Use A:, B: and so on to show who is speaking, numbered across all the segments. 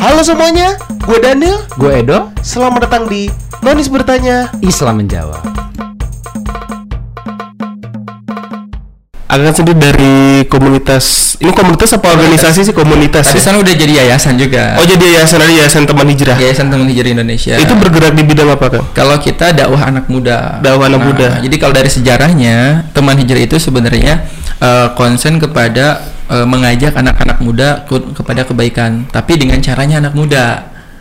A: Halo semuanya, gue Daniel.
B: Gue Edo,
A: Selamat datang di Nonis bertanya.
B: Islam menjawab.
A: Agak sedih dari komunitas. Ini komunitas apa organisasi sih komunitas? Ya?
C: Tapi sana udah jadi yayasan juga.
A: Oh jadi yayasan ada yayasan teman hijrah.
C: Yayasan Teman Hijri Indonesia.
A: Itu bergerak di bidang apa kan?
C: kalau kita dakwah anak muda. Nah,
A: Dakwah anak muda.
C: Jadi kalau dari sejarahnya Teman Hijri itu sebenarnya eh, concern kepada eh, mengajak anak-anak muda ke- kepada kebaikan, tapi dengan caranya anak muda.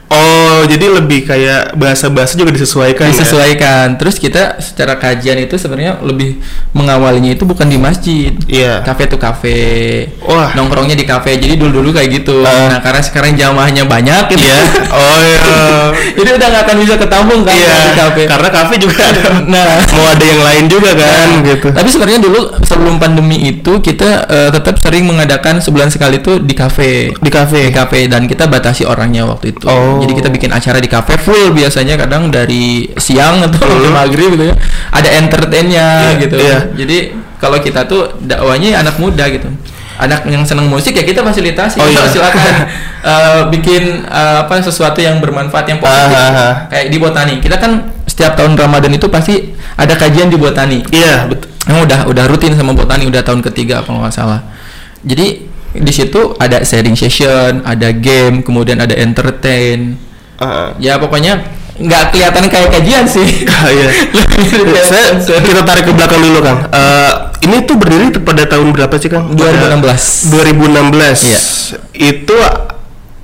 A: Oh jadi lebih kayak bahasa-bahasa juga disesuaikan. ya?
C: disesuaikan. Terus kita secara kajian itu sebenarnya lebih mengawalinya itu bukan di masjid.
A: Iya.
C: Kafe tuh kafe.
A: Wah.
C: Nongkrongnya di kafe. Jadi dulu-dulu kayak gitu.
A: Ah.
C: Nah, karena sekarang jamaahnya banyak gitu.
A: Iya. Oh iya.
C: Jadi udah nggak akan bisa ketambung kan
A: Iya.
C: di kafe.
A: Karena kafe juga ada.
C: Nah.
A: Mau ada yang lain juga kan gitu.
C: Tapi sebenarnya dulu sebelum pandemi itu kita eh, tetap sering mengadakan sebulan sekali tuh di kafe.
A: Di kafe.
C: Di kafe dan kita batasi orangnya waktu itu.
A: Oh.
C: Jadi kita bikin acara di kafe full biasanya kadang dari siang atau sampai maghrib gitu ya. Ada
A: Iya,
C: entertainnya gitu.
A: iya.
C: Jadi kalau kita tuh dakwanya anak muda gitu. Anak yang senang musik ya kita fasilitasi.
A: Oh, iya.
C: Silakan eh, bikin eh, apa sesuatu yang bermanfaat yang
A: Ah,
C: positif.
A: ah, ah.
C: Kayak di botani. Kita kan setiap tahun Ramadan itu pasti ada kajian di botani.
A: Iya betul.
C: Emang udah udah rutin sama botani udah tahun ketiga kalau nggak salah. Jadi di situ ada sharing session, ada game, kemudian ada entertain.
A: Ah.
C: Ya pokoknya nggak kelihatan kayak kajian sih.
A: Ah, iya. Saya, kita tarik ke belakang dulu Kang. Eh, ini tuh berdiri te- pada tahun berapa sih Kang? Pada
C: 2016.
A: 2016.
C: Iya.
A: Itu a-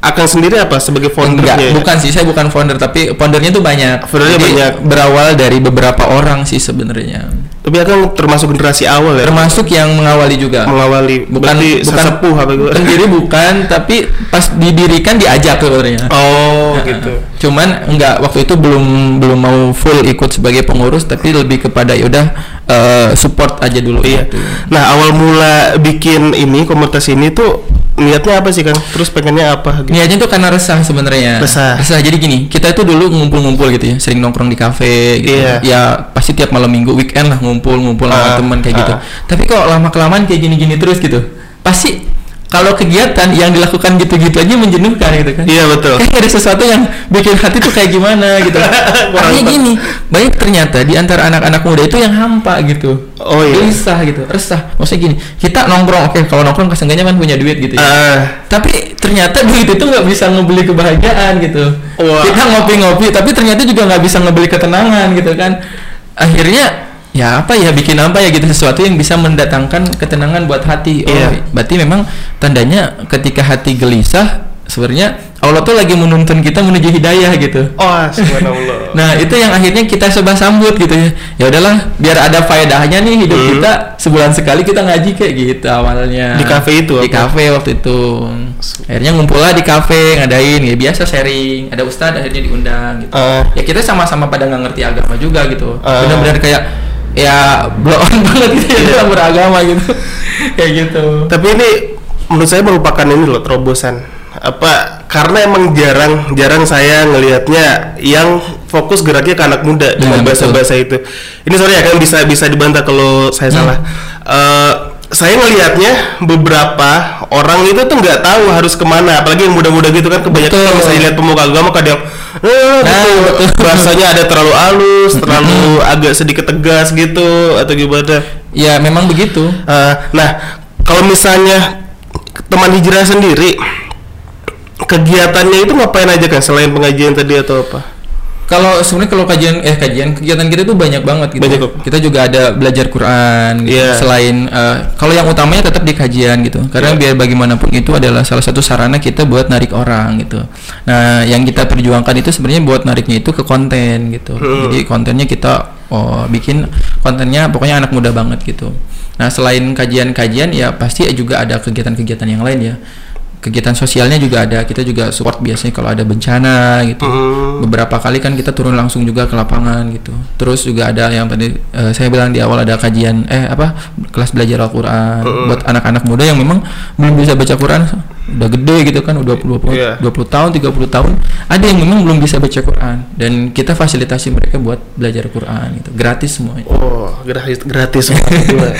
A: akan sendiri apa sebagai
C: Enggak,
A: foundernya? ya?
C: bukan sih. Saya bukan founder, tapi foundernya tuh banyak.
A: Foundernya
C: Jadi,
A: banyak.
C: Berawal dari beberapa orang sih sebenarnya.
A: Tapi akan termasuk generasi awal ya.
C: Termasuk yang mengawali juga.
A: Melawali.
C: bukan
A: Berarti
C: bukan
A: sesepuh apa gitu.
C: pendiri bukan, tapi pas didirikan diajak sebenarnya.
A: Oh
C: Iya.
A: gitu.
C: Cuman enggak waktu itu belum belum mau full ikut sebagai pengurus tapi lebih kepada yaudah eh, support aja dulu
A: Iya.
C: gitu.
A: Nah awal mula bikin ini komunitas ini tuh niatnya apa sih Kang? Terus pengennya apa? Gitu?
C: Niatnya tuh karena resah sebenarnya.
A: Resah.
C: Jadi gini, kita itu dulu ngumpul-ngumpul gitu ya, sering nongkrong di kafe gitu.
A: Iya.
C: Ya pasti tiap malam minggu weekend lah ngumpul-ngumpul
A: Ah,
C: sama teman kayak gitu.
A: ah.
C: Tapi kok lama kelamaan kayak gini-gini terus gitu. Pasti kalau kegiatan yang dilakukan gitu-gitu aja menjenuhkan gitu kan.
A: Iya betul.
C: kayak ada sesuatu yang bikin hati tuh kayak gimana gitu Artinya gini banyak ternyata di antara anak-anak muda itu yang hampa gitu
A: Oh, iya.
C: gelisah gitu resah maksudnya gini kita nongkrong oke kalau nongkrong kesengganya kan punya duit gitu ya
A: Ah,
C: tapi ternyata duit itu nggak bisa ngebeli kebahagiaan gitu
A: Wah.
C: kita ngopi-ngopi tapi ternyata juga nggak bisa ngebeli ketenangan gitu kan akhirnya ya apa ya bikin apa ya gitu sesuatu yang bisa mendatangkan ketenangan buat hati oh
A: Iya.
C: berarti memang tandanya ketika hati gelisah sebenarnya Allah tuh lagi menuntun kita menuju hidayah gitu
A: oh subhanallah.
C: Nah itu yang akhirnya kita coba sambut gitu ya. Ya udahlah, biar ada faedahnya nih hidup
A: Hmm.
C: kita sebulan sekali kita ngaji kayak gitu awalnya.
A: Di kafe itu
C: Di
A: apa?
C: kafe waktu itu. Akhirnya ngumpul lah di kafe ngadain ya biasa sharing. Ada ustadz akhirnya diundang gitu.
A: Ah.
C: Ya kita sama-sama pada nggak ngerti agama juga gitu.
A: Ah.
C: Benar-benar kayak ya blow on banget gitu ya dalam beragama gitu. kayak gitu.
A: Tapi ini menurut saya merupakan ini loh terobosan. Apa karena emang jarang jarang saya ngelihatnya yang fokus geraknya ke anak muda dengan
C: Iya, betul.
A: bahasa-bahasa itu. Ini sorry ya kan bisa bisa dibantah kalau saya
C: Hmm.
A: salah. Eh, saya ngelihatnya beberapa orang itu tuh nggak tahu harus kemana, apalagi yang muda-muda gitu kan kebanyakan
C: Betul.
A: kalau misalnya lihat pemuka agama kadang eh,
C: Nah,
A: gitu.
C: betul. Hmm.
A: bahasanya ada terlalu halus, terlalu agak sedikit tegas gitu atau gimana.
C: Ya memang begitu.
A: Eh, nah, kalau misalnya teman hijrah sendiri kegiatannya itu ngapain aja kan selain pengajian tadi atau apa?
C: Kalau sebenarnya kalau kajian eh kajian kegiatan kita tuh banyak banget gitu.
A: Banyak.
C: Kita juga ada belajar Quran gitu.
A: Iya.
C: selain eh, kalau yang utamanya tetap di kajian gitu. Karena biar bagaimanapun itu adalah salah satu sarana kita buat narik orang gitu. Nah, yang kita perjuangkan itu sebenarnya buat nariknya itu ke konten gitu.
A: Hmm.
C: Jadi kontennya kita oh, bikin kontennya pokoknya anak muda banget gitu. Nah, selain kajian-kajian ya pasti juga ada kegiatan-kegiatan yang lain ya. Kegiatan sosialnya juga ada. Kita juga support biasanya kalau ada bencana gitu beberapa kali kan kita turun langsung juga ke lapangan gitu terus juga ada yang tadi eh, saya bilang di awal ada kajian eh apa kelas belajar Al-Quran buat anak-anak muda yang memang belum bisa baca Quran udah gede gitu kan udah 20,
A: Iya.
C: 20 tahun 30 tahun ada yang memang belum bisa baca Quran dan kita fasilitasi mereka buat belajar Quran gitu gratis semuanya
A: Oh, gratis gratis. banget.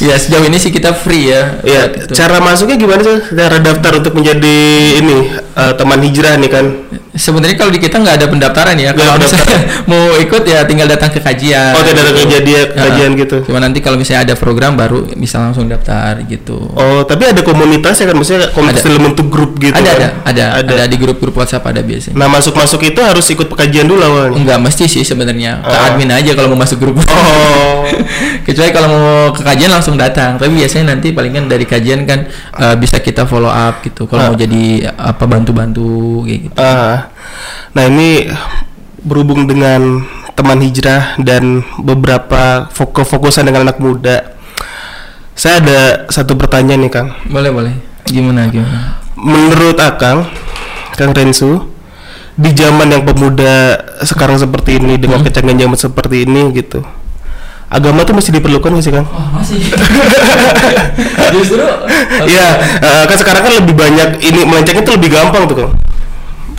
C: ya sejauh ini sih kita free ya
A: ya,
C: Gitu.
A: cara masuknya gimana sih? Cara daftar mendaftar untuk menjadi ini eh, teman hijrah nih kan?
C: Sebenarnya kalau di kita nggak ada pendaftaran ya.
A: Nggak
C: Kalau
A: ada
C: misalnya mau ikut ya tinggal datang ke kajian.
A: Oh, tidak ada kejadian
C: Heeh.
A: kajian gitu.
C: Cuma nanti kalau misalnya ada program baru bisa langsung daftar gitu.
A: Oh, tapi ada komunitasnya kan maksudnya komunitas
C: Ada.
A: dalam bentuk grup gitu.
C: ada,
A: kan?
C: ada ada ada di grup-grup WhatsApp ada biasanya.
A: Nah, masuk-masuk itu harus ikut pekajian dulu awalnya.
C: Enggak mesti sih sebenarnya. Ke
A: Ah.
C: admin aja kalau mau masuk grup.
A: Oh.
C: Kecuali kalau mau ke kajian langsung datang. Tapi biasanya nanti palingan dari kajian kan eh, bisa kita follow up gitu. Kalau mau jadi apa bantu-bantu kayak gitu.
A: Ah. nah, ini berhubung dengan teman hijrah dan beberapa fok- kefokusan dengan anak muda. Saya ada satu pertanyaan nih, Kang.
C: Boleh boleh. Gimana gimana?
A: Menurut Akang, Kang Rensu, di zaman yang pemuda sekarang seperti ini dengan kecanggihan zaman seperti ini gitu, agama tuh masih diperlukan nggak sih Kang?
C: Wah masih. Justru.
A: Iya, eh, kan sekarang kan lebih banyak ini melencengnya tuh lebih gampang tuh Kang,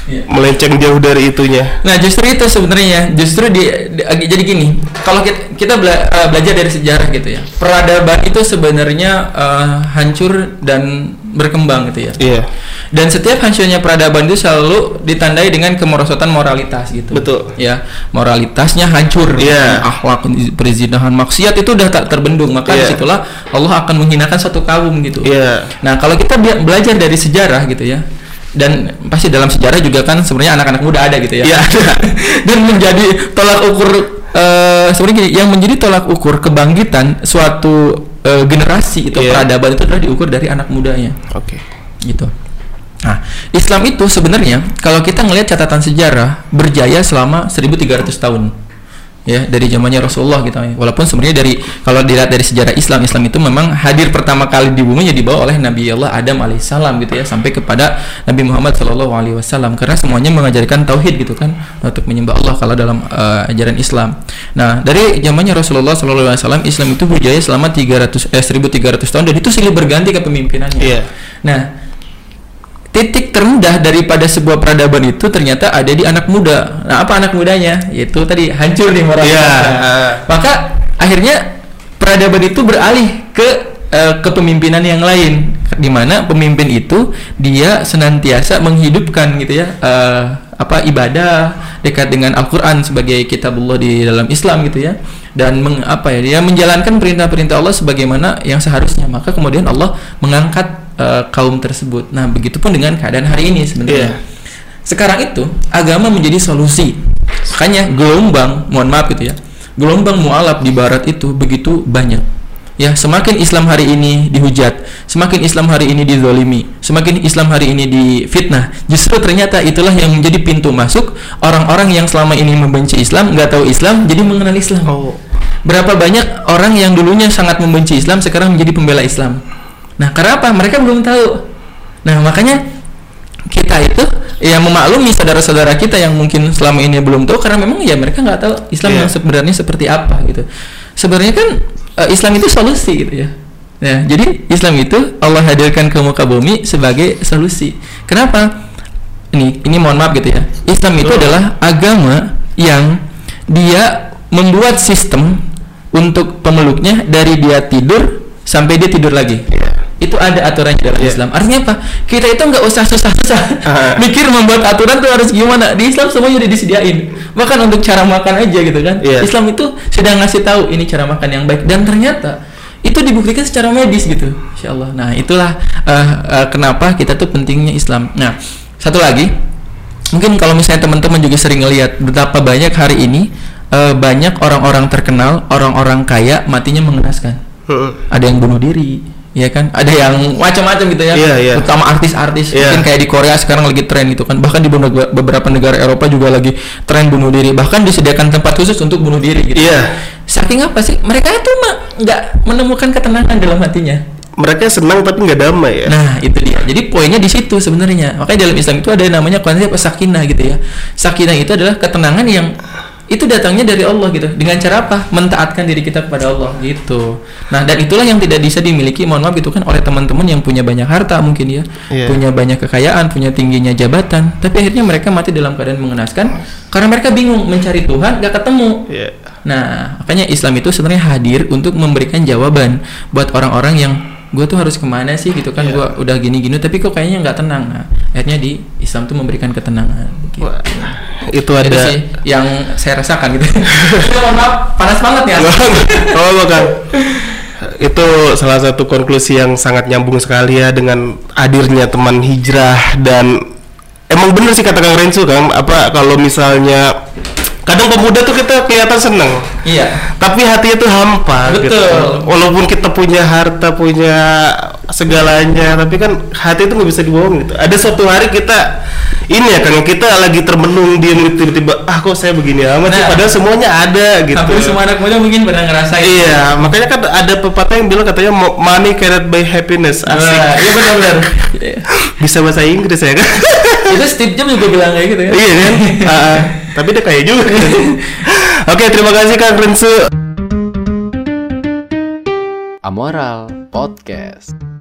C: Iya.
A: melenceng jauh dari itunya.
C: Nah justru itu sebenarnya justru di, di- jadi gini kalau kita, kita bela- eh, belajar dari sejarah gitu ya peradaban itu sebenarnya eh, hancur dan berkembang gitu ya
A: Iya,
C: dan setiap hancurnya peradaban itu selalu ditandai dengan kemerosotan moralitas gitu
A: Betul.
C: ya moralitasnya hancur
A: Iya.
C: akhlak perzinahan maksiat itu udah tak terbendung maka
A: Iya.
C: disitulah Allah akan menghinakan satu kaum gitu
A: iya,
C: Nah, kalau kita bia- belajar dari sejarah gitu ya. Dan pasti dalam sejarah juga kan sebenarnya anak-anak muda ada gitu ya.
A: Iya, ada.
C: Dan menjadi tolak ukur eh, sebenarnya gini, yang menjadi tolak ukur kebangkitan suatu eh, generasi itu
A: Iya.
C: peradaban itu adalah diukur dari anak mudanya
A: oke,
C: gitu. Nah, Islam itu sebenarnya kalau kita ngelihat catatan sejarah berjaya selama 1300 tahun. Ya, dari zamannya Rasulullah gitu. Walaupun sebenarnya dari kalau dilihat dari sejarah Islam, Islam itu memang hadir pertama kali di bumi ya dibawa oleh Nabi Allah Adam alaihissalam gitu ya sampai kepada Nabi Muhammad Shallallahu alaihi wasallam karena semuanya mengajarkan tauhid gitu kan untuk menyembah Allah kalau dalam eh, ajaran Islam. Nah, dari zamannya Rasulullah Shallallahu alaihi wasallam Islam itu berjaya selama 300 eh, 1300 tahun dan itu silih berganti kepemimpinannya.
A: Iya.
C: Nah, titik terendah daripada sebuah peradaban itu ternyata ada di anak muda. Nah, apa anak mudanya? Yaitu tadi hancur nih moral.
A: Iya.
C: Maka akhirnya peradaban itu beralih ke eh, kepemimpinan yang lain di mana pemimpin itu dia senantiasa menghidupkan gitu ya eh, apa ibadah dekat dengan Al-Qur'an sebagai kitabullah di dalam Islam gitu ya dan meng, apa ya dia menjalankan perintah-perintah Allah sebagaimana yang seharusnya maka kemudian Allah mengangkat eh, kaum tersebut nah begitupun dengan keadaan hari ini
A: Iya.
C: sebenarnya sekarang itu agama menjadi solusi. Makanya gelombang, mohon maaf gitu ya. Gelombang mualaf di barat itu begitu banyak. Ya, semakin Islam hari ini dihujat, semakin Islam hari ini dizolimi, semakin Islam hari ini difitnah. Justru ternyata itulah yang menjadi pintu masuk orang-orang yang selama ini membenci Islam, nggak tahu Islam, jadi mengenal Islam.
A: Oh.
C: Berapa banyak orang yang dulunya sangat membenci Islam sekarang menjadi pembela Islam. Nah, karena apa? Mereka belum tahu. Nah, makanya kita itu ya memaklumi saudara-saudara kita yang mungkin selama ini belum tahu karena memang ya mereka nggak tahu Islam
A: Iya.
C: yang sebenarnya seperti apa gitu. Sebenarnya kan eh, Islam itu solusi gitu ya. Ya, jadi Islam itu Allah hadirkan ke muka bumi sebagai solusi. Kenapa? Ini ini mohon maaf gitu ya. Islam itu
A: Oh.
C: adalah agama yang dia membuat sistem untuk pemeluknya dari dia tidur sampai dia tidur lagi
A: Iya.
C: itu ada aturannya dalam
A: Iya.
C: Islam. Artinya apa? Kita itu nggak usah susah-susah
A: Ah.
C: mikir membuat aturan tuh harus gimana. Di Islam semuanya udah disediain. Bahkan untuk cara makan aja gitu kan.
A: Iya.
C: Islam itu sedang ngasih tahu ini cara makan yang baik dan ternyata itu dibuktikan secara medis gitu. Insya Allah. Nah, itulah eh, eh, kenapa kita tuh pentingnya Islam. Nah, satu lagi mungkin kalau misalnya teman-teman juga sering ngelihat betapa banyak hari ini eh, banyak orang-orang terkenal, orang-orang kaya matinya mengenaskan
A: Heeh.
C: ada yang bunuh diri ya kan ada yang macam-macam gitu ya
A: Iya, iya.
C: terutama artis-artis
A: Iya.
C: mungkin kayak di Korea sekarang lagi tren gitu kan bahkan di beberapa beberapa negara Eropa juga lagi tren bunuh diri bahkan disediakan tempat khusus untuk bunuh diri gitu
A: Iya.
C: saking apa sih mereka itu mah nggak menemukan ketenangan dalam hatinya
A: Mereka senang tapi nggak damai ya.
C: Nah, itu dia. Jadi poinnya di situ sebenarnya. Makanya dalam Islam itu ada namanya konsep sakinah gitu ya. Sakinah itu adalah ketenangan yang itu datangnya dari Allah gitu. Dengan cara apa? Mentaatkan diri kita kepada Allah gitu. Nah, dan itulah yang tidak bisa dimiliki mohon maaf gitu kan oleh teman-teman yang punya banyak harta mungkin ya.
A: Iya.
C: Punya banyak kekayaan, punya tingginya jabatan, tapi akhirnya mereka mati dalam keadaan mengenaskan karena mereka bingung mencari Tuhan gak ketemu.
A: Iya.
C: Nah, makanya Islam itu sebenarnya hadir untuk memberikan jawaban buat orang-orang yang gue tuh harus kemana sih gitu kan
A: Iya.
C: gua udah gini-gini tapi kok kayaknya nggak tenang nah akhirnya di Islam tuh memberikan ketenangan gitu.
A: Wah, itu
C: Itu
A: ada
C: sih yang saya rasakan gitu Tapi mohon maaf panas banget ya
A: oh bukan itu salah satu konklusi yang sangat nyambung sekali ya dengan hadirnya teman hijrah dan emang bener sih kata Kang Renzo kan apa kalau misalnya kadang pemuda tuh kita kelihatan seneng
C: iya
A: tapi hatinya tuh hampa gitu.
C: Betul.
A: walaupun kita punya harta punya segalanya tapi kan hati itu nggak bisa dibohong gitu ada suatu hari kita ini ya Kang kita lagi termenung diam gitu, tiba-tiba ah kok saya begini amat sih
C: Nah.
A: padahal semuanya ada gitu
C: hampir semua anak muda mungkin pernah ngerasain
A: Iya, makanya kan ada pepatah yang bilang katanya "Mo- money cannot buy happiness. Asik.
C: Nah, iya benar-benar Iya.
A: Bisa bahasa Inggris ya kan?
C: itu Steve Jobs juga bilang kayak gitu kan
A: iya kan? Ah, ah. Tapi dia kaya juga. Oke, terima kasih Kang Rensu.
B: Amoral Podcast.